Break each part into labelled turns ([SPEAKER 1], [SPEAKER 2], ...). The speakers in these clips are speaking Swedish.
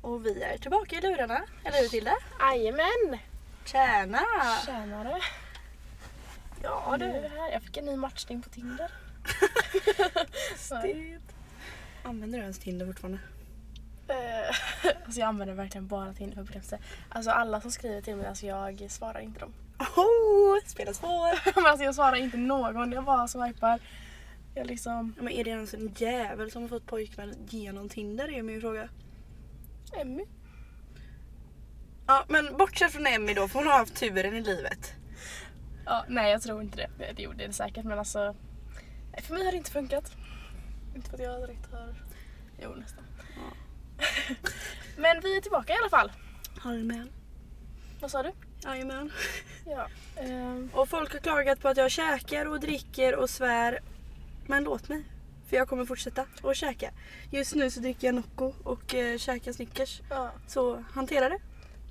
[SPEAKER 1] Och vi är tillbaka i lurarna. Eller hur Tilde?
[SPEAKER 2] Jajamän!
[SPEAKER 1] Tjena!
[SPEAKER 2] Tjänare.
[SPEAKER 1] Ja
[SPEAKER 2] Nu är vi här. Jag fick en ny matchning på Tinder.
[SPEAKER 1] Använder du ens Tinder fortfarande?
[SPEAKER 2] Eh, alltså jag använder verkligen bara Tinder för bekräftelse. Alltså alla som skriver till mig, alltså jag svarar inte dem.
[SPEAKER 1] Oh, spela svår!
[SPEAKER 2] Men alltså jag svarar inte någon, jag bara swipar. Jag liksom...
[SPEAKER 1] Men är det ens en jävel som har fått pojkvän genom Tinder är min fråga.
[SPEAKER 2] Emmy?
[SPEAKER 1] Ja men bortsett från Emmy då för hon har haft turen i livet.
[SPEAKER 2] Ja, nej jag tror inte det. Nej, Det gjorde det säkert men alltså... nej, För mig har det inte funkat. Inte för att jag direkt har... Jo nästan.
[SPEAKER 1] Ja.
[SPEAKER 2] men vi är tillbaka i alla fall.
[SPEAKER 1] Jajamän.
[SPEAKER 2] Vad sa du?
[SPEAKER 1] Jajamän.
[SPEAKER 2] Ja. ehm,
[SPEAKER 1] Och folk har klagat på att jag käkar och dricker och svär. Men låt mig. För jag kommer fortsätta att käka. Just nu så dricker jag Nocco och eh, käkar Snickers.
[SPEAKER 2] ja.
[SPEAKER 1] Så hantera det.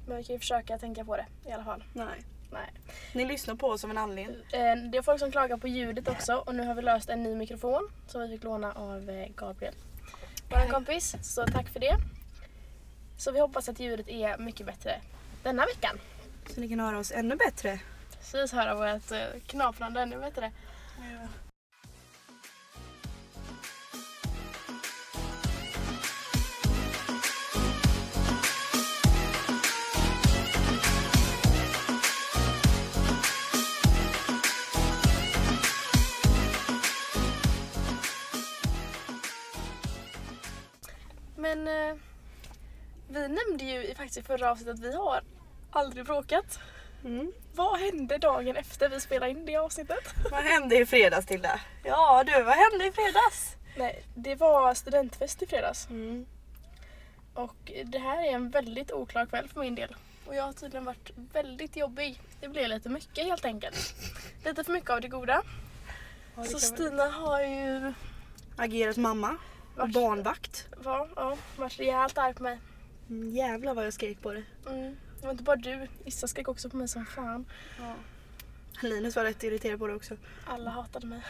[SPEAKER 2] Men vi kan ju försöka tänka på det i alla fall.
[SPEAKER 1] Nej.
[SPEAKER 2] Nej.
[SPEAKER 1] Ni lyssnar på oss av en anledning.
[SPEAKER 2] Eh, Det är folk som klagar på ljudet också och nu har vi löst en ny mikrofon som vi fick låna av eh, Gabriel. Vår kompis, så tack för det. Så vi hoppas att ljudet är mycket bättre denna veckan.
[SPEAKER 1] Så ni kan höra oss ännu bättre.
[SPEAKER 2] Precis höra vårt eh, knaprande ännu bättre. Men eh, vi nämnde ju i- faktiskt i förra avsnittet att vi har aldrig bråkat.
[SPEAKER 1] Mm.
[SPEAKER 2] Vad hände dagen efter vi spelade in det avsnittet?
[SPEAKER 1] Vad hände i fredags Tilda? Ja du, vad hände i fredags?
[SPEAKER 2] Nej, det var studentfest i fredags
[SPEAKER 1] Mm.
[SPEAKER 2] och det här är en väldigt oklar kväll för min del. Och jag har tydligen varit väldigt jobbig. Det blev lite mycket helt enkelt. Lite för mycket av det goda. Så Stina har ju
[SPEAKER 1] Agerat mamma. Och
[SPEAKER 2] Vars-
[SPEAKER 1] barnvakt.
[SPEAKER 2] var, ja, varit rejält arg på mig.
[SPEAKER 1] Mm, jävlar vad jag skrek på dig.
[SPEAKER 2] Mm. Det var inte bara du, Issa skrek också på mig som fan.
[SPEAKER 1] Linus var rätt irriterad på det också.
[SPEAKER 2] Alla hatade mig.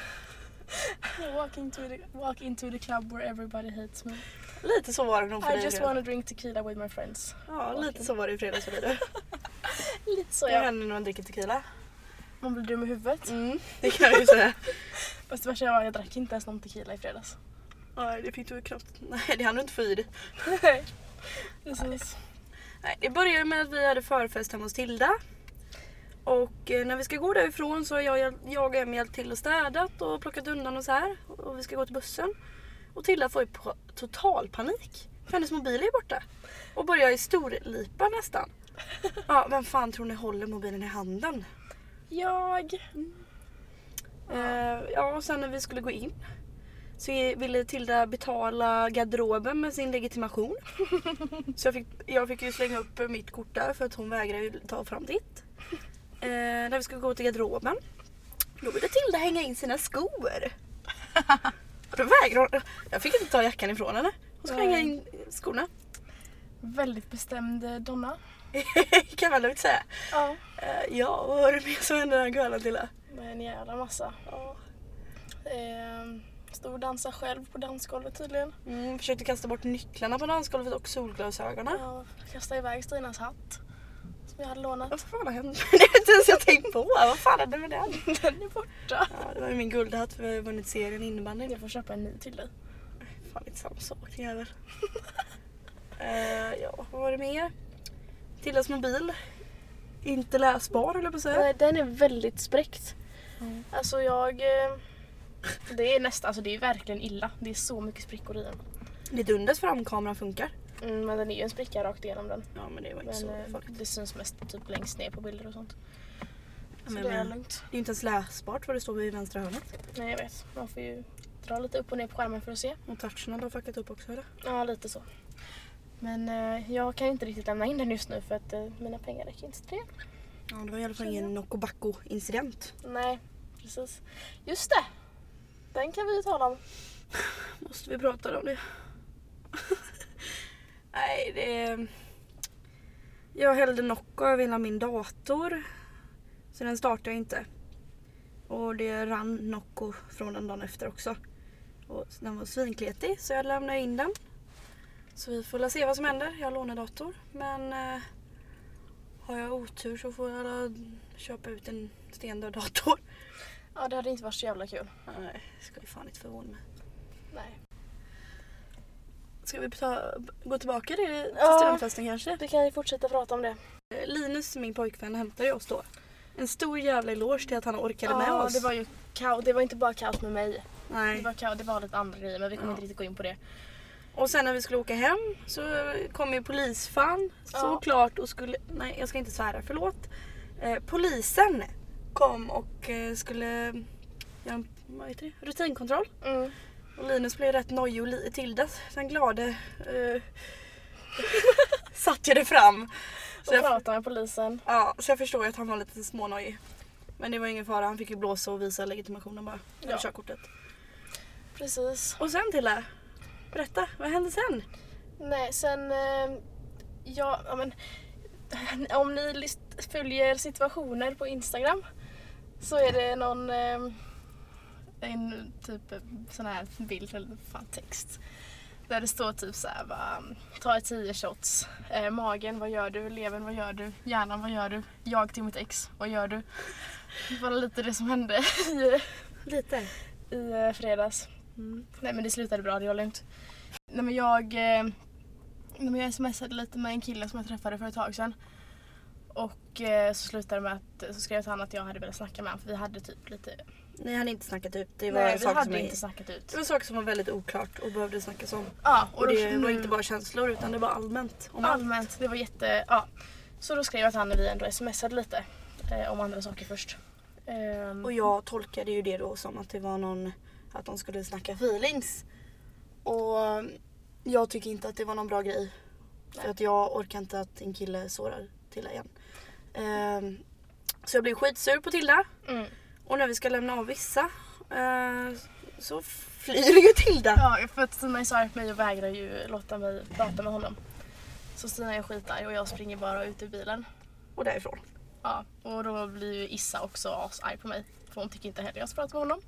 [SPEAKER 2] walk, into the, walk into the club where everybody hates me.
[SPEAKER 1] Lite så var det nog för
[SPEAKER 2] I
[SPEAKER 1] dig.
[SPEAKER 2] just
[SPEAKER 1] Adrian.
[SPEAKER 2] wanna drink tequila with my friends.
[SPEAKER 1] Ja, lite så var det i fredags för dig. du.
[SPEAKER 2] Lite så
[SPEAKER 1] Det
[SPEAKER 2] ja.
[SPEAKER 1] händer när man dricker tequila.
[SPEAKER 2] Man blir dum i huvudet.
[SPEAKER 1] Det kan jag ju säga.
[SPEAKER 2] Fast det värsta var att jag drack inte ens någon tequila i fredags.
[SPEAKER 1] Nej, det fick du knappt. Nej, det hann du inte få i dig.
[SPEAKER 2] Precis.
[SPEAKER 1] Nej, det började med att vi hade förfest hemma hos Tilda. Och eh, när vi ska gå därifrån så har jag, hjäl- jag och Em hjälpt till och städat och plockat undan och så här. Och vi ska gå till bussen. Och Tilda får ju på- total panik. För hennes mobil är borta. Och börjar i storlipa nästan. Ja, vem fan tror ni håller mobilen i handen?
[SPEAKER 2] Jag.
[SPEAKER 1] Eh, ja, och sen när vi skulle gå in så ville Tilda betala garderoben med sin legitimation. så jag fick, jag fick ju slänga upp mitt kort där för att hon vägrade ju ta fram ditt. Eh, när vi skulle gå till garderoben då ville Tilda hänga in sina skor. Och då vägrade hon. Jag fick inte ta jackan ifrån henne. Hon skulle
[SPEAKER 2] Nej.
[SPEAKER 1] hänga in skorna.
[SPEAKER 2] Väldigt bestämd eh, donna.
[SPEAKER 1] kan man lugnt säga.
[SPEAKER 2] Ja.
[SPEAKER 1] Eh, ja, vad var det mer som hände den kvällen Tilda?
[SPEAKER 2] Med en jävla massa.
[SPEAKER 1] Ja.
[SPEAKER 2] Ehm, stod och dansade själv på dansgolvet tydligen.
[SPEAKER 1] Mm, försökte kasta bort nycklarna på dansgolvet och solglasögonen.
[SPEAKER 2] Ja, kastade iväg Stinas hatt. Som jag hade lånat.
[SPEAKER 1] Vad fan har hänt? Det är inte ens jag tänkt på. Vad fan hände med den?
[SPEAKER 2] Den är borta.
[SPEAKER 1] Ja, det var ju min guldhatt för vi har ju vunnit serien i innebandy.
[SPEAKER 2] Jag får köpa en ny till dig.
[SPEAKER 1] Fan inte samma sak din jävel. Eh, ja, vad var det mer? Tillas mobil. Inte läsbar höll jag på att säga.
[SPEAKER 2] Nej, Den är väldigt spräckt.
[SPEAKER 1] Mm.
[SPEAKER 2] Alltså jag... eh, Det är nästan, alltså det är verkligen illa. Det är så mycket sprickor i den.
[SPEAKER 1] Det är dunders framkameran funkar.
[SPEAKER 2] Mm, men den är ju en spricka rakt igenom den.
[SPEAKER 1] Ja men det var inte
[SPEAKER 2] Men
[SPEAKER 1] så
[SPEAKER 2] eh,
[SPEAKER 1] farligt.
[SPEAKER 2] det syns mest typ längst ner på bilder och sånt. Så
[SPEAKER 1] Men,
[SPEAKER 2] det är
[SPEAKER 1] men,
[SPEAKER 2] lugnt.
[SPEAKER 1] det är inte ens läsbart vad det står vid vänstra hörnet.
[SPEAKER 2] Nej jag vet, man får ju dra lite upp och ner på skärmen för att se.
[SPEAKER 1] Och touchen hade fuckat upp också eller?
[SPEAKER 2] Ja lite så. Men eh, jag kan inte riktigt lämna in den just nu för att eh, mina pengar räcker inte till det.
[SPEAKER 1] Ja det var i alla fall ingen Nocco incident.
[SPEAKER 2] Nej, precis. Just det! Den kan vi ju tala om.
[SPEAKER 1] Måste vi prata om det? Nej, det... Jag hällde Nocco över hela min dator. Så den startade jag inte. Och det rann Nocco från den dagen efter också. Och den var svinkletig så jag lämnade in den. Så vi får väl se vad som händer. Jag har lånedator. Men eh, har jag otur så får jag köpa ut en stendöd dator.
[SPEAKER 2] Ja, det hade inte varit så jävla kul.
[SPEAKER 1] Nej, skulle fan inte förvåna mig.
[SPEAKER 2] Nej.
[SPEAKER 1] Ska vi ta, gå tillbaka till till
[SPEAKER 2] Ja.
[SPEAKER 1] strandfesten kanske?
[SPEAKER 2] Vi kan ju fortsätta prata om det.
[SPEAKER 1] Linus, min pojkvän, hämtade ju oss då. En stor jävla eloge till att han orkade med
[SPEAKER 2] ja,
[SPEAKER 1] oss.
[SPEAKER 2] det var ju kaos. Det var inte bara kaos med mig. Det
[SPEAKER 1] Nej.
[SPEAKER 2] var, kaos, det var lite andra grejer men vi kommer
[SPEAKER 1] Ja.
[SPEAKER 2] inte riktigt gå in på det.
[SPEAKER 1] Och sen när vi skulle åka hem så kom ju polisfan
[SPEAKER 2] Ja.
[SPEAKER 1] såklart och skulle, nej jag ska inte svära, förlåt. Eh, polisen kom och eh, skulle göra en vad heter det, rutinkontroll.
[SPEAKER 2] Mm.
[SPEAKER 1] Och Linus blev rätt nojig och li- Tilda, den glade, eh, satt ju det fram.
[SPEAKER 2] Och
[SPEAKER 1] Så jag,
[SPEAKER 2] prata med polisen.
[SPEAKER 1] ja, så jag förstår ju att han var lite smånojig. Men det var ingen fara, han fick ju blåsa och visa legitimationen bara. Eller
[SPEAKER 2] Ja.
[SPEAKER 1] körkortet.
[SPEAKER 2] Precis.
[SPEAKER 1] Och sen Tilda, berätta, vad hände sen?
[SPEAKER 2] Nej, sen... eh, Ja, ja men... Om ni list- följer situationer på Instagram så är det någon... eh, En typ eh, sån här bild eller fan text. Där det står typ såhär bara, ta 10 shots. Eh, magen, vad gör du? Levern, vad gör du? Hjärnan, vad gör du? Jag till mitt ex, vad gör du? Det var lite det som hände i,
[SPEAKER 1] Lite.
[SPEAKER 2] i eh, fredags.
[SPEAKER 1] Mm.
[SPEAKER 2] Nej men det slutade bra, det var lugnt. Nej men jag... eh, Nej, men jag smsade lite med en kille som jag träffade för ett tag sedan. Och eh, så slutade det med att, så skrev jag till honom att jag hade velat snacka med honom för vi hade typ lite...
[SPEAKER 1] Ni hade inte snackat ut, det var
[SPEAKER 2] Nej vi
[SPEAKER 1] saker som
[SPEAKER 2] hade
[SPEAKER 1] ni-
[SPEAKER 2] inte snackat ut.
[SPEAKER 1] Det var saker som var väldigt oklart och behövde snackas om.
[SPEAKER 2] Ja,
[SPEAKER 1] Och det
[SPEAKER 2] då-
[SPEAKER 1] var inte bara känslor utan det var allmänt. Om allt.
[SPEAKER 2] Allmänt, det var jätte... Ja. Så då skrev jag till honom när vi ändå smsade lite. Eh, om andra saker först. Ehm,
[SPEAKER 1] Och jag tolkade ju det då som att det var någon, att de skulle snacka feelings. Och jag tycker inte att det var någon bra grej. För
[SPEAKER 2] Nej.
[SPEAKER 1] att jag orkar inte att en kille sårar Tilda igen. Ehm, så jag blev skitsur på Tilda.
[SPEAKER 2] mm.
[SPEAKER 1] Och när vi ska lämna av vissa eh, så flyr ju Tilda.
[SPEAKER 2] Ja, för att Stina är så arg på mig och vägrar ju låta mig prata med honom. Så Stina är skitarg och jag springer bara ut ur bilen.
[SPEAKER 1] Och därifrån.
[SPEAKER 2] Ja, och då blir ju Issa också asarg på mig. För hon tycker inte heller jag ska prata med honom.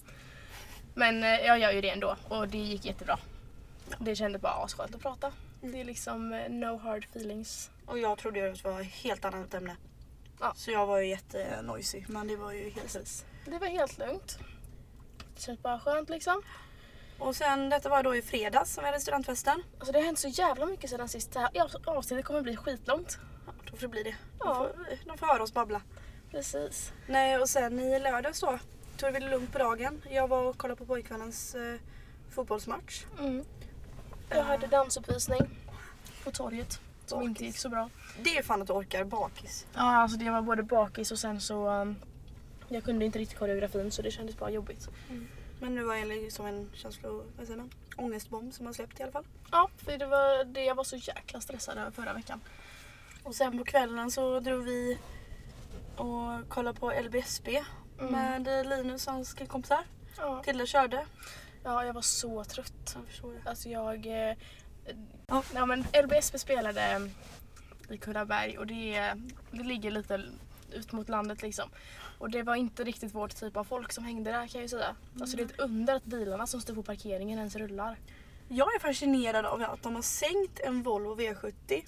[SPEAKER 2] Men eh, jag gör ju det ändå och det gick jättebra. Det kändes bara asskönt att prata. Det är liksom eh, no hard feelings.
[SPEAKER 1] Och jag trodde ju att det var ett helt annat ämne.
[SPEAKER 2] Ja.
[SPEAKER 1] Så jag var ju jättenoisig. Men det var ju helt rätt.
[SPEAKER 2] Det var helt lugnt. Det känns bara skönt liksom.
[SPEAKER 1] Och sen detta var då i fredags som vi hade studentfesten.
[SPEAKER 2] Alltså det har hänt så jävla mycket sedan sist. Det här ja, avsnittet kommer bli skitlångt.
[SPEAKER 1] Ja, då får det bli det.
[SPEAKER 2] Ja.
[SPEAKER 1] De, får, de får höra oss babbla.
[SPEAKER 2] Precis.
[SPEAKER 1] Nej och sen i lördags då tog vi det lugnt på dagen. Jag var och kollade på pojkvännens eh, fotbollsmatch.
[SPEAKER 2] Mm. Jag hade dansuppvisning på torget som inte gick så bra.
[SPEAKER 1] Det är fan att du orkar bakis.
[SPEAKER 2] Ja, alltså det var både bakis och sen så... um, jag kunde inte riktigt koreografin så det kändes bara jobbigt.
[SPEAKER 1] Men nu var jag liksom en känslo... Vad säger man? Ångestbomb som har släppt i alla fall.
[SPEAKER 2] Ja, för det var det jag var så jäkla stressad över förra veckan.
[SPEAKER 1] Och sen på kvällen så drog vi och kollade på LBSB
[SPEAKER 2] Mm.
[SPEAKER 1] med Linus och hans killkompisar.
[SPEAKER 2] Ja.
[SPEAKER 1] Tilda körde.
[SPEAKER 2] ja, jag var så trött.
[SPEAKER 1] Sen förstår jag.
[SPEAKER 2] Alltså jag... Eh,
[SPEAKER 1] Ja.
[SPEAKER 2] ja, men LBSB spelade um, i Kullaberg och det, är- det ligger lite ut mot landet liksom. Och det var inte riktigt vårt typ av folk som hängde där kan jag ju säga. Alltså det är ett under att bilarna som står på parkeringen ens rullar.
[SPEAKER 1] Jag är fascinerad av att de har sänkt en Volvo V70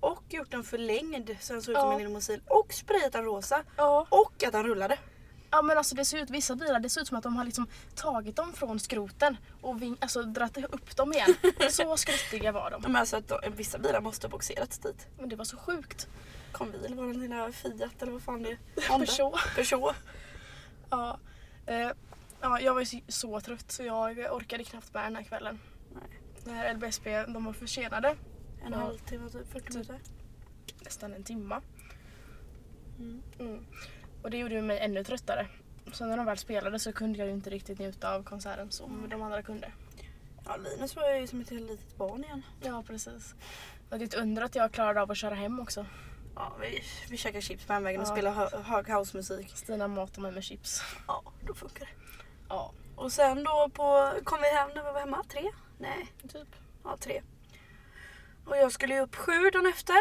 [SPEAKER 1] och gjort den förlängd så den såg ut som
[SPEAKER 2] Ja.
[SPEAKER 1] en limousin och sprayat den rosa
[SPEAKER 2] Ja.
[SPEAKER 1] och att den rullade.
[SPEAKER 2] Ja men alltså det ser ut, vissa bilar det ser ut som att de har liksom tagit dem från skroten och ving, alltså dratt upp dem igen. Så skrotiga var de.
[SPEAKER 1] Ja, men alltså att de, vissa bilar måste ha boxerats dit.
[SPEAKER 2] Men det var så sjukt.
[SPEAKER 1] Kom vi eller var det den lilla Fiat eller vad fan det är? Honda?
[SPEAKER 2] Peugeot.
[SPEAKER 1] Peugeot.
[SPEAKER 2] Ja. Eh, ja, jag var ju så, så trött så jag orkade knappt med den här kvällen.
[SPEAKER 1] Nej.
[SPEAKER 2] När LBSB, de var försenade
[SPEAKER 1] En
[SPEAKER 2] Ja.
[SPEAKER 1] halvtimme typ, 40 minuter.
[SPEAKER 2] nästan en timma.
[SPEAKER 1] Mm.
[SPEAKER 2] Mm. Och det gjorde ju mig ännu tröttare. Så när de väl spelade så kunde jag ju inte riktigt njuta av konserten
[SPEAKER 1] Mm.
[SPEAKER 2] som de andra kunde.
[SPEAKER 1] Ja Linus var ju som ett helt litet barn igen.
[SPEAKER 2] Ja precis. Och det är ett under att jag klarade av att köra hem också.
[SPEAKER 1] Ja, vi, vi käkade chips på hemvägen och
[SPEAKER 2] Ja.
[SPEAKER 1] spelade hö, hög housemusik.
[SPEAKER 2] Stina matade mig med chips.
[SPEAKER 1] Ja, då funkar det.
[SPEAKER 2] Ja,
[SPEAKER 1] Och sen då på, kom vi hem när vi var hemma? Tre? Nej.
[SPEAKER 2] typ.
[SPEAKER 1] Ja, tre. Och jag skulle ju upp sju dagen efter.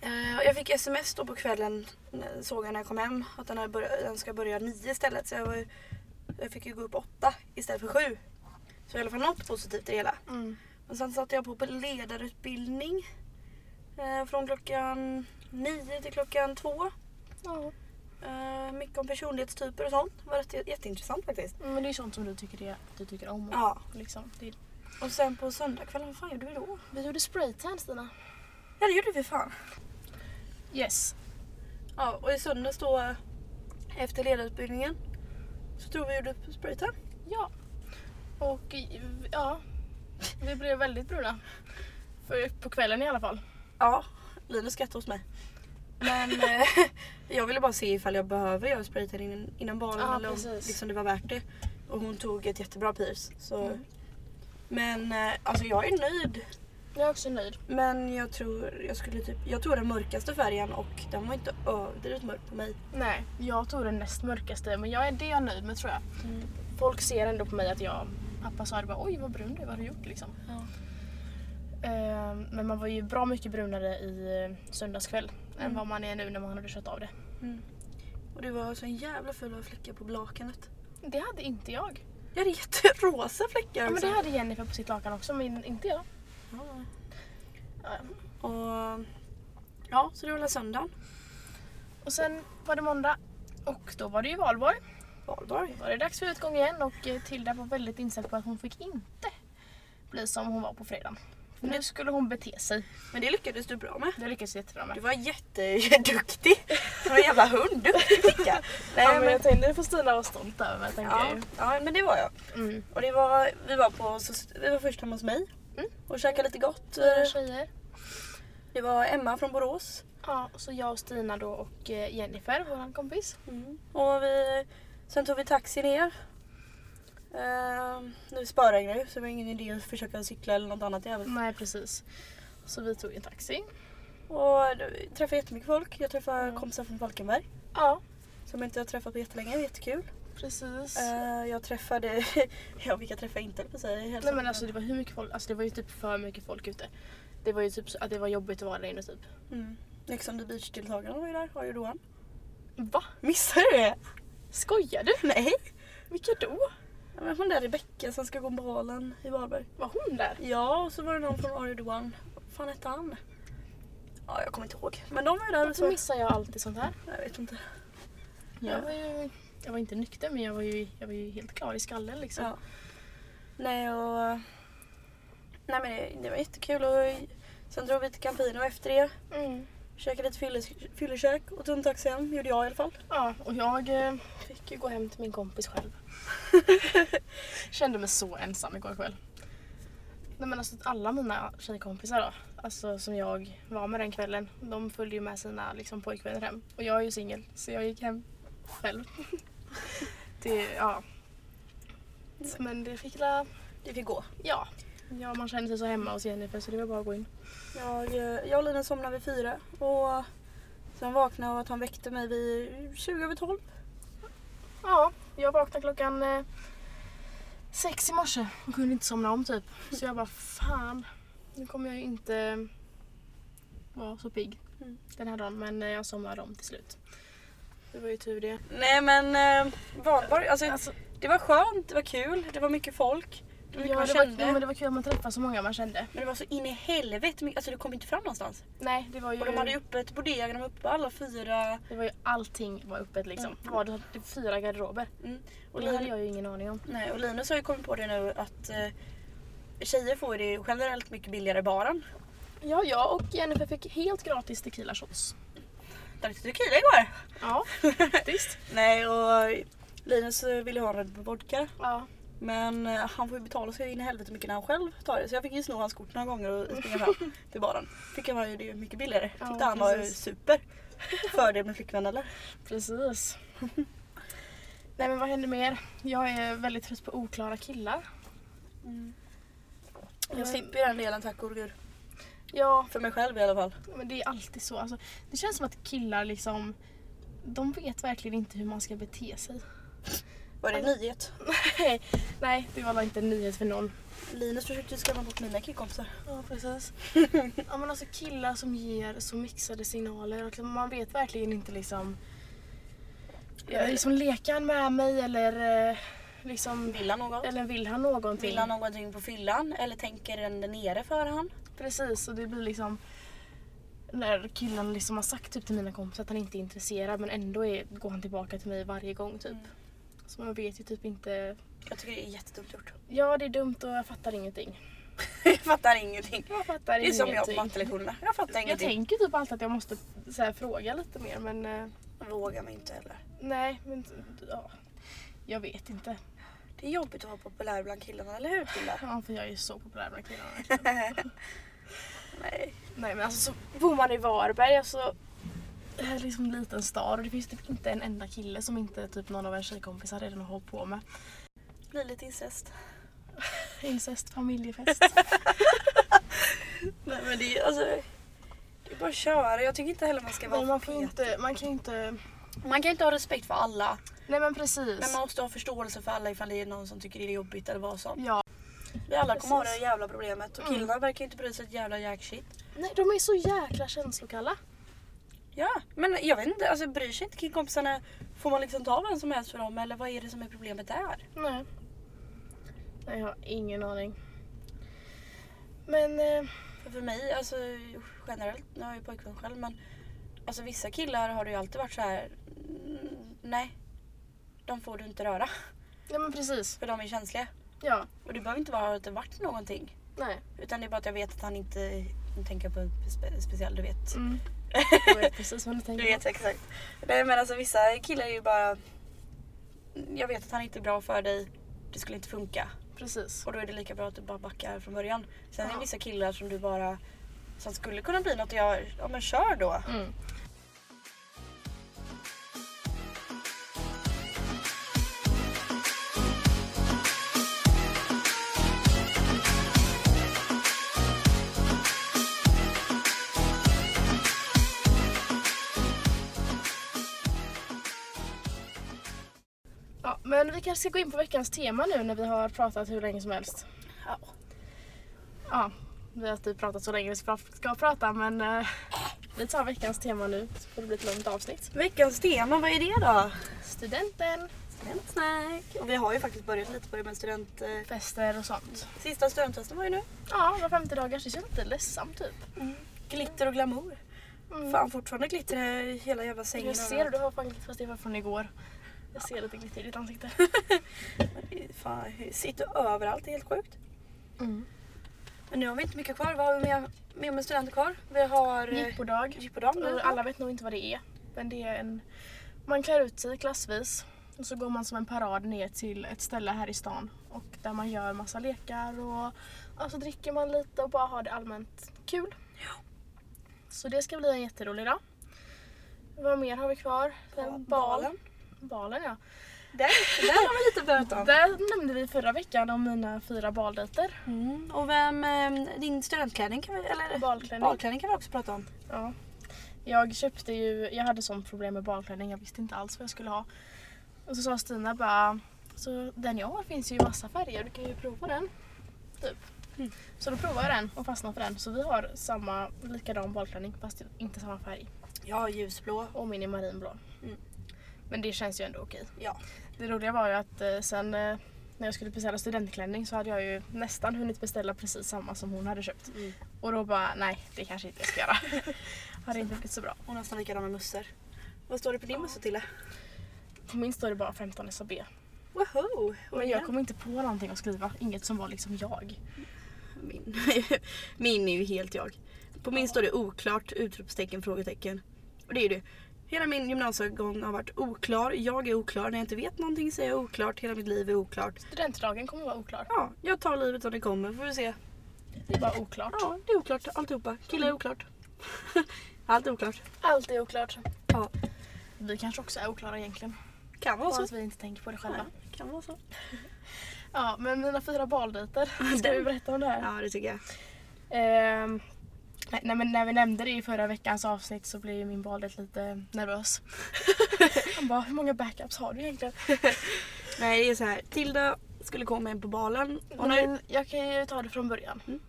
[SPEAKER 1] Eh, och Jag fick sms då på kvällen, eh, såg jag när jag kom hem, att den, här bör- den ska börja nio istället. Så jag, var, ju-
[SPEAKER 2] Mm.
[SPEAKER 1] jag fick ju gå upp åtta istället för sju. Så i alla fall något positivt i det hela. Och sen satte jag på på ledarutbildning. Eh, från klockan nio till klockan två.
[SPEAKER 2] Ja.
[SPEAKER 1] Eh, mycket om personlighetstyper och sånt. Det var rätt, jätteintressant faktiskt.
[SPEAKER 2] Mm, Men det är sånt som du tycker, är, du tycker om. och
[SPEAKER 1] Ja.
[SPEAKER 2] Liksom. Det,
[SPEAKER 1] Och sen på söndagskvällen, vad fan gjorde vi då?
[SPEAKER 2] vi gjorde spraytan Stina.
[SPEAKER 1] Ja det gjorde vi fan.
[SPEAKER 2] Yes.
[SPEAKER 1] Ja, och i söndags då eh, efter ledarutbildningen så tror vi gjorde upp spraytan.
[SPEAKER 2] Ja. Och i- ja, vi blev väldigt bruna. För, på kvällen i alla fall.
[SPEAKER 1] Ja, Linus skrattade hos mig. Men eh, jag ville bara se ifall jag behöver göra spraytan innan, innan baren
[SPEAKER 2] Ja,
[SPEAKER 1] eller om
[SPEAKER 2] precis.
[SPEAKER 1] liksom, det var värt det. Och hon tog ett jättebra pris. Så.
[SPEAKER 2] Mm.
[SPEAKER 1] Men eh, alltså jag är nöjd.
[SPEAKER 2] Jag är också nöjd.
[SPEAKER 1] Men jag tror jag skulle typ, jag tog den mörkaste färgen och den var inte överdrivet mörk på mig.
[SPEAKER 2] Nej, jag tog den näst mörkaste men jag är det jag är nöjd med tror jag.
[SPEAKER 1] Mm.
[SPEAKER 2] Folk ser ändå på mig att jag, pappa sa det bara oj vad brun du är, vad har du gjort liksom.
[SPEAKER 1] Ja.
[SPEAKER 2] Ehm, men man var ju bra mycket brunare i eh, söndagskväll
[SPEAKER 1] Mm.
[SPEAKER 2] än vad man är nu när man hade duschat av det.
[SPEAKER 1] Och det var så en jävla fula fläckar på lakanet.
[SPEAKER 2] Det hade inte jag.
[SPEAKER 1] Jag hade jätterosa fläckar
[SPEAKER 2] Ja, men
[SPEAKER 1] också.
[SPEAKER 2] det hade Jennifer på sitt lakan också men inte jag.
[SPEAKER 1] Ja.
[SPEAKER 2] Ja.
[SPEAKER 1] Och ja, så det var hela söndagen.
[SPEAKER 2] Och sen var det måndag och då var det ju valborg.
[SPEAKER 1] Valborg.
[SPEAKER 2] Då var det dags för utgång igen och eh, Tilda var väldigt inställd på att hon fick inte bli som hon var på fredagen. För nu skulle hon bete sig.
[SPEAKER 1] Men det lyckades du bra med.
[SPEAKER 2] Det lyckades jag jättebra med.
[SPEAKER 1] Du var jätteduktig. Som en jävla hund. Duktig flicka.
[SPEAKER 2] ja, men jag tänkte det får Stina vara stolt över mig tänker jag
[SPEAKER 1] ja,
[SPEAKER 2] ju.
[SPEAKER 1] ja, men det var jag.
[SPEAKER 2] Mm.
[SPEAKER 1] Och det var, vi var på, så- vi var först hemma hos mig.
[SPEAKER 2] Mm.
[SPEAKER 1] Och käkade lite gott.
[SPEAKER 2] Fyra tjejer.
[SPEAKER 1] Det var Emma från Borås.
[SPEAKER 2] Ja, och så jag och Stina då och eh, Jennifer, vår kompis.
[SPEAKER 1] Och vi, sen tog vi taxi ner. Ehm, nu spöregnar ju så det var ingen idé att försöka cykla eller något annat jävligt.
[SPEAKER 2] Nej precis. Så vi tog en taxi.
[SPEAKER 1] Och då träffade jättemycket folk. Jag träffade
[SPEAKER 2] Mm.
[SPEAKER 1] kompisar från Falkenberg
[SPEAKER 2] Ja,
[SPEAKER 1] som jag inte har träffat på jättelänge. Jättekul.
[SPEAKER 2] precis.
[SPEAKER 1] Eh, jag träffade, ja vilka träffade jag inte på sig.
[SPEAKER 2] Nej men alltså det var hur mycket folk, alltså det var ju typ för mycket folk ute. Det var ju typ så att det var jobbigt att vara där inne typ.
[SPEAKER 1] Mm. Ex on the beach-deltagarna var ju där, har ju Rohan.
[SPEAKER 2] Va?
[SPEAKER 1] Missade du det?
[SPEAKER 2] Skojar du?
[SPEAKER 1] Nej.
[SPEAKER 2] Vilka då?
[SPEAKER 1] Ja, men hon där Rebecka som ska gå balen i Varberg.
[SPEAKER 2] Var hon där?
[SPEAKER 1] Ja, och så var det någon från Are You The One. Vad fan hette han? Ja, jag kommer inte ihåg. Men de var ju där och
[SPEAKER 2] Varför
[SPEAKER 1] så.
[SPEAKER 2] missar jag alltid sånt här?
[SPEAKER 1] Jag vet inte.
[SPEAKER 2] Jag var ju, jag var inte nykter men jag var ju, jag var ju helt klar i skallen liksom.
[SPEAKER 1] Ja. Nej och... Nej men det, det var jättekul och sen drog vi till Campino efter det.
[SPEAKER 2] Mm.
[SPEAKER 1] Käkade lite fylles- fyllekäk och tog en taxi hem, gjorde jag i alla fall.
[SPEAKER 2] Ja, och jag eh, fick ju gå hem till min kompis själv. Kände mig så ensam igår kväll. Nej men alltså alla mina tjejkompisar då, alltså som jag var med den kvällen, de följde ju med sina liksom, pojkvänner hem. Och jag är ju singel, så jag gick hem själv. det, ja. Men det fick la,
[SPEAKER 1] Det fick gå.
[SPEAKER 2] ja. Ja, man kände sig så hemma hos Jennifer så det var bara att gå in.
[SPEAKER 1] Jag, eh, jag och Lina somnade vid fyra och sen vaknade jag av att han väckte mig vid 20 över 12.
[SPEAKER 2] Ja, jag vaknade klockan eh, sex i morse och kunde inte somna om typ. Så jag bara fan, nu kommer jag ju inte vara så pigg
[SPEAKER 1] Mm.
[SPEAKER 2] den här dagen. Men eh, jag somnade om till slut. Det var ju tur det.
[SPEAKER 1] Nej men eh, Valborg, alltså,
[SPEAKER 2] Alltså,
[SPEAKER 1] det var skönt, det var kul, det var mycket folk. Det var mycket
[SPEAKER 2] ja,
[SPEAKER 1] man
[SPEAKER 2] det, var,
[SPEAKER 1] kände.
[SPEAKER 2] ja, men
[SPEAKER 1] men, det...
[SPEAKER 2] det var kul att man träffade så många man kände.
[SPEAKER 1] var så in i helvete mycket, alltså du kom inte fram någonstans.
[SPEAKER 2] Nej, det var ju,
[SPEAKER 1] Och de hade ju öppet Bodegan, de var uppe alla fyra.
[SPEAKER 2] det var ju allting var öppet liksom.
[SPEAKER 1] Mm.
[SPEAKER 2] Det var det, det fyra garderober.
[SPEAKER 1] Mm.
[SPEAKER 2] Och
[SPEAKER 1] Och,
[SPEAKER 2] det hade
[SPEAKER 1] Lin-
[SPEAKER 2] jag ju ingen aning om.
[SPEAKER 1] nej, och Linus har ju kommit på det nu att eh, tjejer får ju det generellt mycket billigare i baren.
[SPEAKER 2] Ja, jag och Jennifer fick helt gratis tequila shots.
[SPEAKER 1] Där tyckte du kille igår.
[SPEAKER 2] Ja, faktiskt.
[SPEAKER 1] Nej och Linus eh, ville ha en Red Bull vodka.
[SPEAKER 2] Ja.
[SPEAKER 1] Men eh, han får ju betala sig in i helvete mycket när han själv tar det. Så jag fick ju sno hans kort några gånger och springa fram till baren. Fick han ju det mycket billigare.
[SPEAKER 2] Ja,
[SPEAKER 1] Tyckte han var ju
[SPEAKER 2] precis.
[SPEAKER 1] super. Fördel med flickvän eller?
[SPEAKER 2] Precis. Nej men vad händer mer? Jag är väldigt trött på oklara killar. Mm.
[SPEAKER 1] Jag slipper ju den delen tack och gud.
[SPEAKER 2] Ja,
[SPEAKER 1] Eh. För mig själv i alla fall.
[SPEAKER 2] men det är alltid så. Alltså, det känns som att killar liksom, de vet verkligen inte hur man ska bete sig.
[SPEAKER 1] Var det en nyhet?
[SPEAKER 2] Nej, Nej, det var väl inte en nyhet för någon.
[SPEAKER 1] Linus försökte ju skrämma bort mina killkompisar.
[SPEAKER 2] Ja, precis. ja, men alltså killar som ger så mixade signaler. Och liksom, man vet verkligen inte liksom, ja, liksom lekar han med mig eller eh, liksom...
[SPEAKER 1] Vill han något?
[SPEAKER 2] Eller vill han någonting?
[SPEAKER 1] Vill han någonting på fyllan? Eller tänker den där nere för han?
[SPEAKER 2] Precis, och det blir liksom... När killen liksom har sagt typ till mina kompisar att han inte är intresserad men ändå är, går han tillbaka till mig varje gång typ.
[SPEAKER 1] Mm.
[SPEAKER 2] Så man vet ju typ inte...
[SPEAKER 1] Jag tycker det är jättedumt gjort.
[SPEAKER 2] Ja, det är dumt och jag fattar ingenting.
[SPEAKER 1] jag fattar ingenting.
[SPEAKER 2] Jag fattar
[SPEAKER 1] Det är som jag på
[SPEAKER 2] ingenting.
[SPEAKER 1] mattelektionerna. Jag fattar
[SPEAKER 2] jag
[SPEAKER 1] ingenting.
[SPEAKER 2] tänker typ alltid att jag måste så här, fråga lite mer men... eh,
[SPEAKER 1] Jag vågar mig inte heller.
[SPEAKER 2] Nej, men ja. Jag vet inte.
[SPEAKER 1] Det är jobbigt att vara populär bland killarna, eller hur killar?
[SPEAKER 2] Ja, för jag är ju så populär bland killarna.
[SPEAKER 1] Nej.
[SPEAKER 2] Nej men alltså så bor man i Varberg, alltså det här är liksom en liten stad och det finns typ inte en enda kille som inte typ någon av ens tjejkompisar redan har hållit på med.
[SPEAKER 1] Det blir lite incest.
[SPEAKER 2] Incest, familjefest.
[SPEAKER 1] Nej men det är alltså... Det är bara att köra. Jag tycker inte heller man ska vara
[SPEAKER 2] Nej, man får ju
[SPEAKER 1] pet.
[SPEAKER 2] inte, man kan ju inte...
[SPEAKER 1] Man kan inte ha respekt för alla.
[SPEAKER 2] Nej men precis.
[SPEAKER 1] Men man måste ha förståelse för alla ifall det är någon som tycker det är jobbigt eller vad som.
[SPEAKER 2] Ja.
[SPEAKER 1] Vi alla kommer ha det
[SPEAKER 2] Precis.
[SPEAKER 1] jävla problemet och
[SPEAKER 2] Mm.
[SPEAKER 1] killarna verkar inte bry sig ett jävla jack shit.
[SPEAKER 2] Nej de är så jäkla känslokalla.
[SPEAKER 1] Ja, men jag vet inte, alltså bryr sig inte killkompisarna? Får man liksom ta vem som helst för dem eller vad är det som är problemet där?
[SPEAKER 2] Nej. Nej jag har ingen aning. Men eh,
[SPEAKER 1] För, för mig, alltså generellt, nu har jag ju pojkvän själv men alltså vissa killar har det ju alltid varit så här. mm, nej. De får du inte röra
[SPEAKER 2] ja men precis.
[SPEAKER 1] för de är känsliga.
[SPEAKER 2] Ja.
[SPEAKER 1] Och det behöver inte vara att det varit någonting.
[SPEAKER 2] Nej.
[SPEAKER 1] Utan det är bara att jag vet att han inte tänker på en spe- speciell, du vet.
[SPEAKER 2] Mm. Jag vet precis vad du tänker.
[SPEAKER 1] Du vet exakt. Nej men alltså vissa killar är ju bara... Jag vet att han inte är bra för dig. Det skulle inte funka.
[SPEAKER 2] Precis.
[SPEAKER 1] Och då är det lika bra att du bara backar från början. Sen är
[SPEAKER 2] Ja.
[SPEAKER 1] det vissa killar som du bara... Som skulle kunna bli något och jag... Ja men kör då.
[SPEAKER 2] Mm. Ja, men vi kanske ska gå in på veckans tema nu när vi har pratat hur länge som helst.
[SPEAKER 1] Ja.
[SPEAKER 2] Ja, vi har typ pratat så länge vi ska, ska prata men eh, vi tar veckans tema nu så får det bli ett långt avsnitt.
[SPEAKER 1] Veckans tema, vad är det då?
[SPEAKER 2] Studenten,
[SPEAKER 1] Studentsnack. Och vi har ju faktiskt börjat lite på det med student... Eh,
[SPEAKER 2] fester och sånt.
[SPEAKER 1] sista studentesten var ju nu.
[SPEAKER 2] Ja, var 50 dagars. Det känns lite ledsamt typ.
[SPEAKER 1] Glitter och glamour.
[SPEAKER 2] Mm.
[SPEAKER 1] Fan fortfarande glitter i hela jävla sängen.
[SPEAKER 2] Jag ser det, du har fan fast det var från igår. Jag ser lite glitter i ditt ansikte.
[SPEAKER 1] det. Fan, sitter överallt, det är helt sjukt.
[SPEAKER 2] Mm.
[SPEAKER 1] Men nu har vi inte mycket kvar. Vad har vi mer, mer med studenter kvar? Vi har eh,
[SPEAKER 2] Jippodag.
[SPEAKER 1] jippodag nu.
[SPEAKER 2] Och Alla vet nog inte vad det är. Men det är en... Man klär ut sig klassvis. Och så går man som en parad ner till ett ställe här i stan. Och där man gör massa lekar och... och så dricker man lite och bara har det allmänt kul. Så det ska bli en jätterolig dag. Vad mer har vi kvar? Den bal.
[SPEAKER 1] Balen.
[SPEAKER 2] Balen ja.
[SPEAKER 1] Där, där har vi lite böt om.
[SPEAKER 2] Där nämnde vi förra veckan om mina fyra baldejter.
[SPEAKER 1] Mm. Och vem, eh, din studentklänning kan vi, eller
[SPEAKER 2] Balklänning.
[SPEAKER 1] balklänning kan vi också prata om.
[SPEAKER 2] Ja. Jag köpte ju, jag hade sånt problem med balklänning, jag visste inte alls vad jag skulle ha. Och så sa Stina bara, så den jag har finns ju i massa färger, du kan ju prova den. Typ.
[SPEAKER 1] Mm.
[SPEAKER 2] Så då provade jag den och fastnade för den. Så vi har samma, likadan balklänning fast inte samma färg.
[SPEAKER 1] Ja, ljusblå.
[SPEAKER 2] Och min är marinblå.
[SPEAKER 1] Mm.
[SPEAKER 2] Men det känns ju ändå okej.
[SPEAKER 1] Ja.
[SPEAKER 2] Det roliga var ju att eh, sen eh, när jag skulle beställa studentklänning så hade jag ju nästan hunnit beställa precis samma som hon hade köpt.
[SPEAKER 1] Mm.
[SPEAKER 2] Och då bara, nej det kanske inte jag ska göra. hade inte blivit så bra.
[SPEAKER 1] Och nästan likadana mössor. Vad står det på din mössa Tille?
[SPEAKER 2] På min står det bara 15 SAB.
[SPEAKER 1] Woho!
[SPEAKER 2] Men jag kom inte på någonting att skriva. Inget som var liksom jag.
[SPEAKER 1] Min. min är ju helt jag. På min står det oklart, utropstecken, frågetecken. Och det är ju det. Hela min gymnasiegång har varit oklar, jag är oklar, när jag inte vet någonting säger jag oklart, hela mitt liv är oklart.
[SPEAKER 2] Studentdagen kommer att vara oklar.
[SPEAKER 1] Ja, jag tar livet som det kommer får vi se.
[SPEAKER 2] Det är bara oklart.
[SPEAKER 1] Ja, det är oklart alltihopa. Killar är oklart. Allt är oklart.
[SPEAKER 2] Allt är oklart.
[SPEAKER 1] Ja,
[SPEAKER 2] Vi kanske också är oklara egentligen.
[SPEAKER 1] kan vara
[SPEAKER 2] Bara
[SPEAKER 1] så.
[SPEAKER 2] att vi inte tänker på det
[SPEAKER 1] Ja,
[SPEAKER 2] själva.
[SPEAKER 1] kan vara så.
[SPEAKER 2] Ja, men mina fyra baldejter. Ska vi berätta om det här?
[SPEAKER 1] Ja, det tycker jag.
[SPEAKER 2] Ehm, nej, nej, men när vi nämnde det i förra veckans avsnitt så blev ju min baldejt lite nervös. Han bara, hur många backups har du egentligen?
[SPEAKER 1] Nej, det är så här. Tilda skulle komma in på balen. Hon har ju...
[SPEAKER 2] Men jag kan ju ta det från början.
[SPEAKER 1] Mm.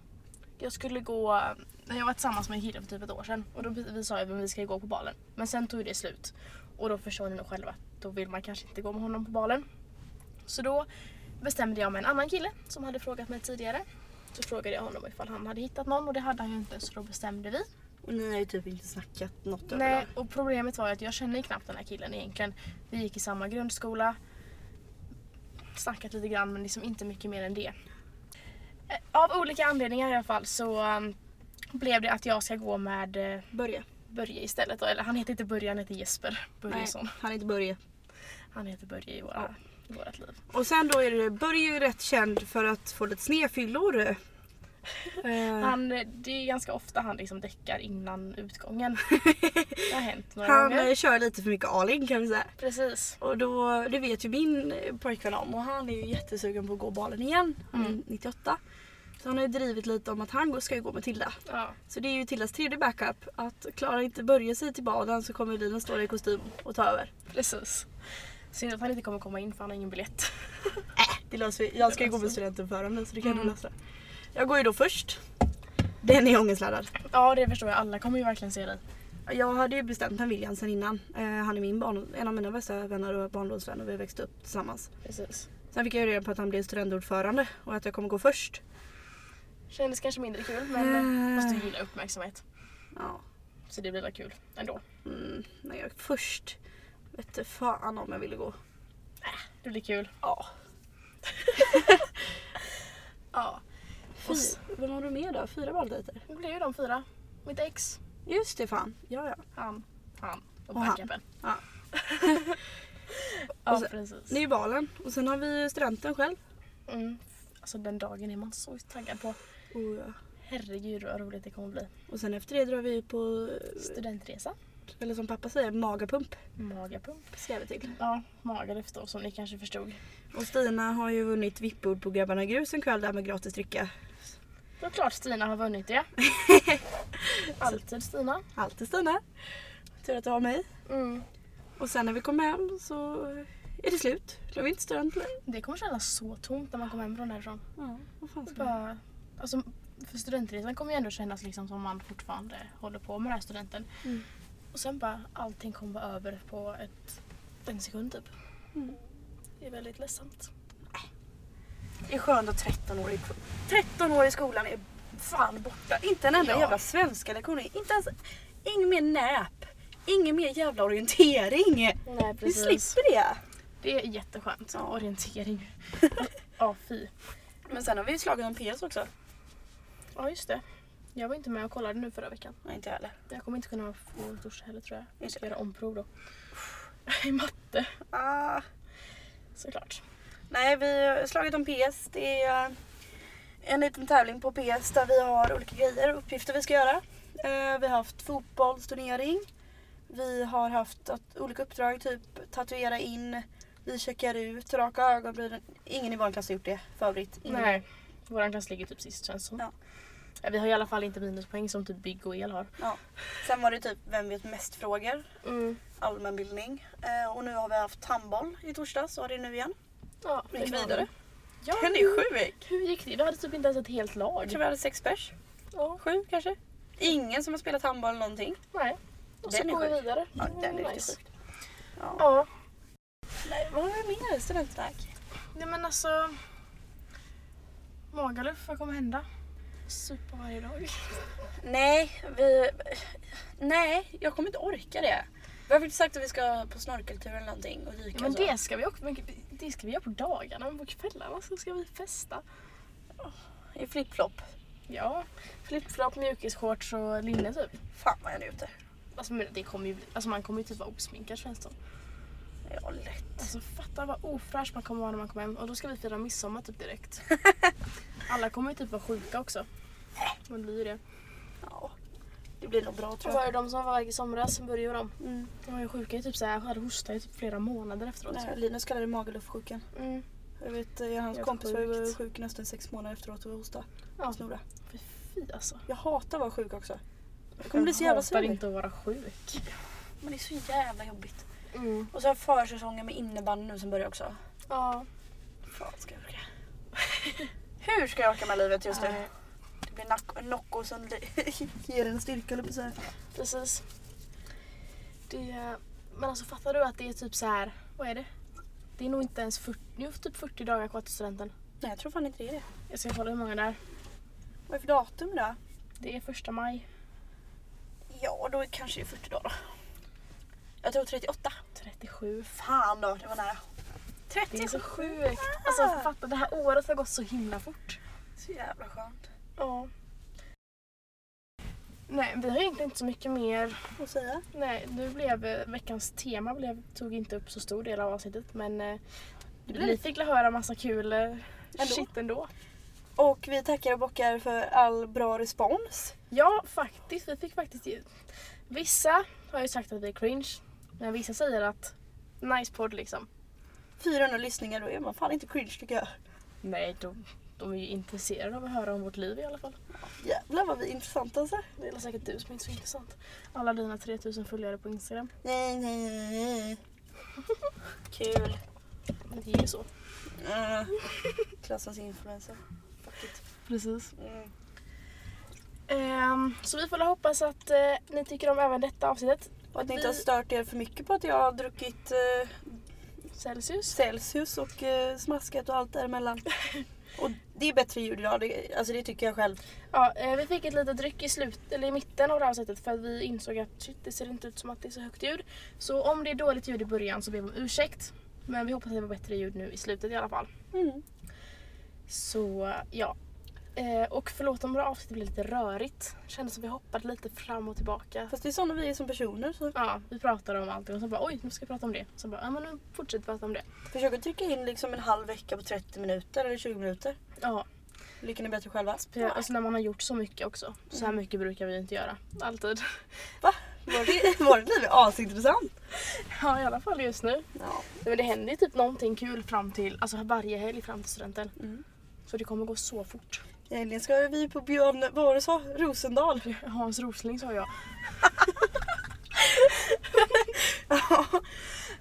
[SPEAKER 2] Jag skulle gå, när jag var tillsammans med en kille för typ ett år sedan och då vi, vi sa ju att vi ska ju gå på balen. Men sen tog ju det slut och då förstår ni nog själva att då vill man kanske inte gå med honom på balen. Så då bestämde jag med en annan kille som hade frågat mig tidigare. Så frågade jag honom ifall han hade hittat någon och det hade han ju inte så då bestämde vi.
[SPEAKER 1] Och ni har ju typ inte snackat något över
[SPEAKER 2] Nej,
[SPEAKER 1] det.
[SPEAKER 2] och problemet var ju att jag känner ju knappt den här killen egentligen. Vi gick i samma grundskola. Snackat lite grann men liksom inte mycket mer än det. Eh, Av olika anledningar i alla fall så um, blev det att jag ska gå med eh,
[SPEAKER 1] Börje.
[SPEAKER 2] Börje istället. då. Eller han heter inte Börje, han heter Jesper Börjesson.
[SPEAKER 1] Nej, han heter Börje.
[SPEAKER 2] Han heter Börje i, våra, i vårt liv.
[SPEAKER 1] Och sen då är det Börje är ju rätt känd för att få lite snefyllor. Eh,
[SPEAKER 2] Han, eh, det är ganska ofta han liksom däckar innan utgången. Det har hänt några
[SPEAKER 1] han
[SPEAKER 2] gånger.
[SPEAKER 1] eh, kör lite för mycket A-link kan vi säga.
[SPEAKER 2] Precis.
[SPEAKER 1] Och då, det vet ju min eh, pojkvän om och han är ju jättesugen på att gå balen igen. Han är 98. Så han har ju drivit lite om att han går- ska ju gå med Tilda.
[SPEAKER 2] Ja.
[SPEAKER 1] Så det är ju Tildas tredje backup. Att klarar inte Börje sig till balen så kommer Linus stå där i kostym och ta över.
[SPEAKER 2] Precis. Synd att han inte kommer komma in för han har ingen biljett.
[SPEAKER 1] Äh, det löser vi. Jag ska ju gå med
[SPEAKER 2] löser
[SPEAKER 1] studentuppförande så det kan
[SPEAKER 2] Mm.
[SPEAKER 1] mm. lösa. Jag går ju då först. Den är ångestladdad.
[SPEAKER 2] Ja det förstår jag, alla kommer ju verkligen se dig.
[SPEAKER 1] Jag hade ju bestämt med William sen innan. Eh, han är min barn, en av mina bästa vänner och barndomsvän och vi växte upp tillsammans.
[SPEAKER 2] Precis.
[SPEAKER 1] Sen fick jag ju reda på att han blev studentordförande och att jag kommer gå först.
[SPEAKER 2] Kändes kanske mindre kul men eh,
[SPEAKER 1] Mm.
[SPEAKER 2] fast du gillar uppmärksamhet.
[SPEAKER 1] Ja,
[SPEAKER 2] Så det blir väl kul ändå.
[SPEAKER 1] Mm, när jag först vette fan om jag ville gå.
[SPEAKER 2] Det blir kul.
[SPEAKER 1] Ja.
[SPEAKER 2] Ja. Och s-
[SPEAKER 1] Vad har du med då? Fyra valdejter?
[SPEAKER 2] det blev ju de fyra. Mitt ex,
[SPEAKER 1] Just det fan. Ja ja.
[SPEAKER 2] han, han och
[SPEAKER 1] Och han.
[SPEAKER 2] backupen.
[SPEAKER 1] Ja.
[SPEAKER 2] ja
[SPEAKER 1] Och så-
[SPEAKER 2] precis.
[SPEAKER 1] Det är ju balen och sen har vi studenten själv.
[SPEAKER 2] Mm. Alltså den dagen är man så taggad på.
[SPEAKER 1] Oh, ja.
[SPEAKER 2] Herregud vad roligt det kommer bli.
[SPEAKER 1] Och sen efter det drar vi ut på, eh,
[SPEAKER 2] Studentresa.
[SPEAKER 1] eller som pappa säger, magapump.
[SPEAKER 2] Magapump.
[SPEAKER 1] Ska vi till.
[SPEAKER 2] Ja, magalyft då som ni kanske förstod.
[SPEAKER 1] Och Stina har ju vunnit vippbord på Grabbarna Grus en kväll där med gratis dricka.
[SPEAKER 2] Det är klart Stina har vunnit det. Alltid Stina.
[SPEAKER 1] Alltid Stina. Tur att du har mig.
[SPEAKER 2] Mm.
[SPEAKER 1] Och sen när vi kom hem så är det slut. Då är vi inte student längre.
[SPEAKER 2] Det kommer kännas så tomt när man kommer hem från därifrån.
[SPEAKER 1] Ja, vad fan ska jag-
[SPEAKER 2] Bara, alltså, för studentresan kommer ju ändå kännas liksom som man fortfarande håller på med den här studenten.
[SPEAKER 1] Mm.
[SPEAKER 2] Och sen bara allting kommer bara över på ett, en sekund typ.
[SPEAKER 1] Mm.
[SPEAKER 2] Det är väldigt ledsamt.
[SPEAKER 1] Det är skönt att 13 år i, 13 år i skolan är fan borta. Inte en enda
[SPEAKER 2] Ja.
[SPEAKER 1] jävla svenska lektioner. Inte ens, ingen mer näp. Ingen mer jävla orientering.
[SPEAKER 2] Nej
[SPEAKER 1] Vi slipper det.
[SPEAKER 2] Det är jätteskönt.
[SPEAKER 1] Ja.
[SPEAKER 2] Orientering. ja fy.
[SPEAKER 1] Men sen har vi ju slagit om PS också.
[SPEAKER 2] Ja just det. Jag var inte med och kollade nu förra veckan.
[SPEAKER 1] Nej inte jag heller.
[SPEAKER 2] Jag kommer inte kunna få torsdag heller tror jag. Jag
[SPEAKER 1] Just
[SPEAKER 2] ska
[SPEAKER 1] det.
[SPEAKER 2] göra omprov då. I matte
[SPEAKER 1] Ah,
[SPEAKER 2] såklart.
[SPEAKER 1] nej vi har slagit om PS. Det är eh, en liten tävling på PS där vi har olika grejer, uppgifter vi ska göra. Eh, Vi har haft fotbollsturnering. Vi har haft att, olika uppdrag, typ tatuera in, vi checkar ut, raka ögonbrynen. Ingen i vår klass har gjort det för övrigt. Ingen.
[SPEAKER 2] Nej. Vår klass ligger typ sist känns som.
[SPEAKER 1] Mm. Ja.
[SPEAKER 2] Ja, Vi har i alla fall inte minuspoäng som typ bygg och el har.
[SPEAKER 1] Ja. Sen var det typ vem vet mest-frågor, allmänbildning. Eh, och nu har vi haft handboll i torsdags och det är nu igen.
[SPEAKER 2] Ja,
[SPEAKER 1] Vi gick
[SPEAKER 2] det var
[SPEAKER 1] vidare.
[SPEAKER 2] det. Ja,
[SPEAKER 1] Det är sju veck.
[SPEAKER 2] Hur gick det? Vi hade typ inte ens ett helt lag.
[SPEAKER 1] Jag tror vi hade sex pers.
[SPEAKER 2] Ja,
[SPEAKER 1] Sju kanske. Ingen som har spelat handboll eller någonting.
[SPEAKER 2] nej. Och så
[SPEAKER 1] Den är
[SPEAKER 2] går vi
[SPEAKER 1] sjuk.
[SPEAKER 2] vidare.
[SPEAKER 1] Ja,
[SPEAKER 2] Mm,
[SPEAKER 1] den är riktigt
[SPEAKER 2] nice.
[SPEAKER 1] sjukt. Ja.
[SPEAKER 2] Ja.
[SPEAKER 1] Nej, vad har vi mer? Studentdrag?
[SPEAKER 2] Nej men alltså. Magaluf, vad kommer hända? Supa varje dag.
[SPEAKER 1] Nej, vi... Nej, jag kommer inte orka det. Vi har faktiskt sagt att vi ska på snorkeltur eller någonting och dyka
[SPEAKER 2] Ja, men
[SPEAKER 1] och så.
[SPEAKER 2] det ska vi också. Men det ska vi göra på dagarna. Men på kvällarna så ska vi festa.
[SPEAKER 1] I flipflop.
[SPEAKER 2] Ja. Flipflop, mjukisshorts och linne typ.
[SPEAKER 1] Fan vad jag njuter.
[SPEAKER 2] Alltså, men det kommer ju, bli- alltså man kommer ju typ vara osminkad känns det som.
[SPEAKER 1] Ja, lätt.
[SPEAKER 2] Alltså fatta vad ofräsch man kommer vara när man kommer hem och då ska vi fira midsommar typ direkt. Alla kommer ju typ vara sjuka också. Man blir ju det.
[SPEAKER 1] Ja. Det blir nog bra
[SPEAKER 2] Och
[SPEAKER 1] tror
[SPEAKER 2] var
[SPEAKER 1] jag.
[SPEAKER 2] det de som var iväg i somras, började ju de.
[SPEAKER 1] Mm.
[SPEAKER 2] De var ju sjuka i typ såhär, hade hosta i typ flera månader efteråt.
[SPEAKER 1] Nej, Linus kallar det mageluffsjukan.
[SPEAKER 2] Mm.
[SPEAKER 1] Jag vet, eh, hans
[SPEAKER 2] Helt
[SPEAKER 1] kompis var ju
[SPEAKER 2] sjukt.
[SPEAKER 1] sjuk nästan sex månader efteråt och hosta
[SPEAKER 2] Ja,
[SPEAKER 1] och snora.
[SPEAKER 2] fy, fy alltså.
[SPEAKER 1] Jag hatar att vara sjuk också. Jag kommer bli så jävla sur.
[SPEAKER 2] hatar inte att vara sjuk.
[SPEAKER 1] Men det är så jävla jobbigt.
[SPEAKER 2] Mm.
[SPEAKER 1] Och så har jag försäsongen med innebandy nu som börjar också.
[SPEAKER 2] Ja.
[SPEAKER 1] Fan ska jag orka? Hur ska jag orka med livet just nu?
[SPEAKER 2] Nej,
[SPEAKER 1] Det blir nack- Nocco som li- ger en styrka eller på så här.
[SPEAKER 2] Precis. Det, men alltså fattar du att det är typ så här. vad är det? Det är nog inte ens 40, det är typ 40 dagar kvar till studenten.
[SPEAKER 1] Nej jag tror fan inte det är det.
[SPEAKER 2] Jag ska kolla hur många det är.
[SPEAKER 1] Vad är för datum då?
[SPEAKER 2] Det är första maj.
[SPEAKER 1] Ja då är kanske det är 40 dagar då. Jag tror 38.
[SPEAKER 2] 37.
[SPEAKER 1] Fan då, det var nära.
[SPEAKER 2] Det är så
[SPEAKER 1] 37.
[SPEAKER 2] sjukt.
[SPEAKER 1] Ah.
[SPEAKER 2] Alltså fatta, det här året har gått så himla fort.
[SPEAKER 1] Så jävla skönt
[SPEAKER 2] Ja. Nej, vi har egentligen inte så mycket mer.
[SPEAKER 1] att säga.
[SPEAKER 2] Nej, nu blev eh, veckans tema blev, tog inte upp så stor del av avsnittet men eh, ni fick la höra massa kul eh,
[SPEAKER 1] Ändå.
[SPEAKER 2] shit ändå.
[SPEAKER 1] Och vi tackar och bockar för all bra respons.
[SPEAKER 2] Ja, faktiskt. Vi fick faktiskt ge- Vissa har ju sagt att vi är cringe, men vissa säger att nice podd liksom.
[SPEAKER 1] 400 lyssningar, då är man fan inte cringe tycker jag.
[SPEAKER 2] Nej, de, de är ju intresserade av att höra om vårt liv i alla fall.
[SPEAKER 1] Jävlar vad vi är intressanta alltså.
[SPEAKER 2] Det är säkert du som inte är så intressant. Alla dina 3000 följare på Instagram.
[SPEAKER 1] Nej, nej, nej, nej. Kul.
[SPEAKER 2] Det är ju så.
[SPEAKER 1] Uh, klassens influencer. Fuck it.
[SPEAKER 2] Precis.
[SPEAKER 1] Mm.
[SPEAKER 2] Ehm, så vi får väl hoppas att eh, ni tycker om även detta avsnittet.
[SPEAKER 1] Och att ni
[SPEAKER 2] Vi-
[SPEAKER 1] inte har stört er för mycket på att jag har druckit eh,
[SPEAKER 2] Celsius.
[SPEAKER 1] Celsius och eh, smaskat och allt däremellan. och det är bättre ljud idag, det, alltså det tycker jag själv.
[SPEAKER 2] Ja, eh, vi fick ett litet dryck i, slut, eller i mitten av det här avsnittet för att vi insåg att shit, det ser inte ut som att det är så högt ljud. Så om det är dåligt ljud i början så ber vi om ursäkt. Men vi hoppas att det var bättre ljud nu i slutet i alla fall.
[SPEAKER 1] Mm.
[SPEAKER 2] Så ja. Eh, och förlåt om våra avsnitt blev lite rörigt. Kändes som vi hoppade lite fram och tillbaka.
[SPEAKER 1] Fast det är sådana vi är som personer så
[SPEAKER 2] Ja, vi pratade om allting och så bara oj, nu ska vi prata om det. Så bara, ja men nu fortsätter vi prata om det.
[SPEAKER 1] försök att trycka in liksom en halv vecka på 30 minuter eller 20 minuter.
[SPEAKER 2] Ja,
[SPEAKER 1] Lyckan är bättre själva.
[SPEAKER 2] Ja, alltså när man har gjort så mycket också. Så här mycket brukar vi ju inte göra. Alltid.
[SPEAKER 1] Va? Vårt- Vårt liv är asintressant.
[SPEAKER 2] Ja, i alla fall just nu.
[SPEAKER 1] Ja.
[SPEAKER 2] Men det händer ju typ någonting kul fram till, alltså varje helg fram till studenten.
[SPEAKER 1] Mm.
[SPEAKER 2] Så det kommer gå så fort.
[SPEAKER 1] I helgen ska vi på Björn, vad var det så? Rosendal.
[SPEAKER 2] Hans Rosling sa jag.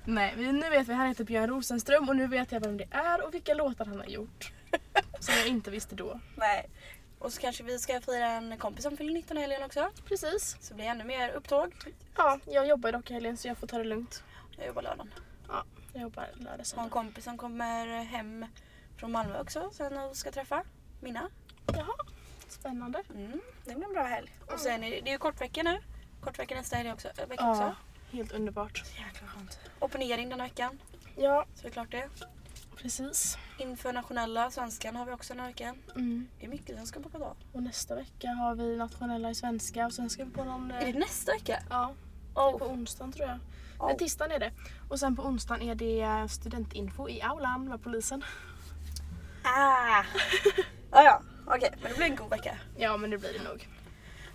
[SPEAKER 2] Nej, men nu vet vi. Han heter Björn Rosenström och nu vet jag vem det är och vilka låtar han har gjort. Som jag inte visste då.
[SPEAKER 1] Nej. Och så kanske vi ska fira en kompis som fyller 19 i helgen också.
[SPEAKER 2] Precis.
[SPEAKER 1] Så blir det ännu mer upptåg.
[SPEAKER 2] Ja, jag jobbar dock i helgen så jag får ta det lugnt.
[SPEAKER 1] Jag jobbar lördagen.
[SPEAKER 2] Ja, jag jobbar lördag
[SPEAKER 1] Har en
[SPEAKER 2] söndag.
[SPEAKER 1] kompis som kommer hem från Malmö också sen och ska träffa Minna.
[SPEAKER 2] Jaha, spännande.
[SPEAKER 1] Mm, det blir en bra helg. Och sen är det, det är ju kortvecka nu. Kortvecka nästa helg också. eh, Vecka
[SPEAKER 2] Ja,
[SPEAKER 1] också.
[SPEAKER 2] helt underbart.
[SPEAKER 1] Jäkla skönt. Opponering den här veckan.
[SPEAKER 2] Ja,
[SPEAKER 1] Så det är klart det.
[SPEAKER 2] precis.
[SPEAKER 1] Inför nationella svenskan har vi också den här veckan.
[SPEAKER 2] Mm.
[SPEAKER 1] Det är mycket som ska bockas av.
[SPEAKER 2] Och nästa vecka har vi nationella i svenska och sen ska vi på någon... eh,
[SPEAKER 1] Är det nästa vecka?
[SPEAKER 2] Ja, det är på
[SPEAKER 1] Oh.
[SPEAKER 2] onsdagen tror jag.
[SPEAKER 1] Oh.
[SPEAKER 2] Nej, tisdagen är det. Och sen på onsdagen är det eh, studentinfo i aulan med polisen.
[SPEAKER 1] Ah. ja, ja. Okej, men det blir en god vecka.
[SPEAKER 2] Ja, men det blir det nog.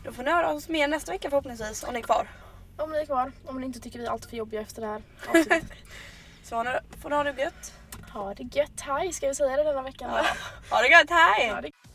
[SPEAKER 1] Då får ni höra oss mer nästa vecka förhoppningsvis om ni är kvar.
[SPEAKER 2] Om ni är kvar, om ni inte tycker vi är allt för jobbiga efter det här avsnittet.
[SPEAKER 1] Så har ni- får ni ha det gött.
[SPEAKER 2] ha det gött, hej ska vi säga det denna veckan?
[SPEAKER 1] Ha det gött, hej!
[SPEAKER 2] Ha det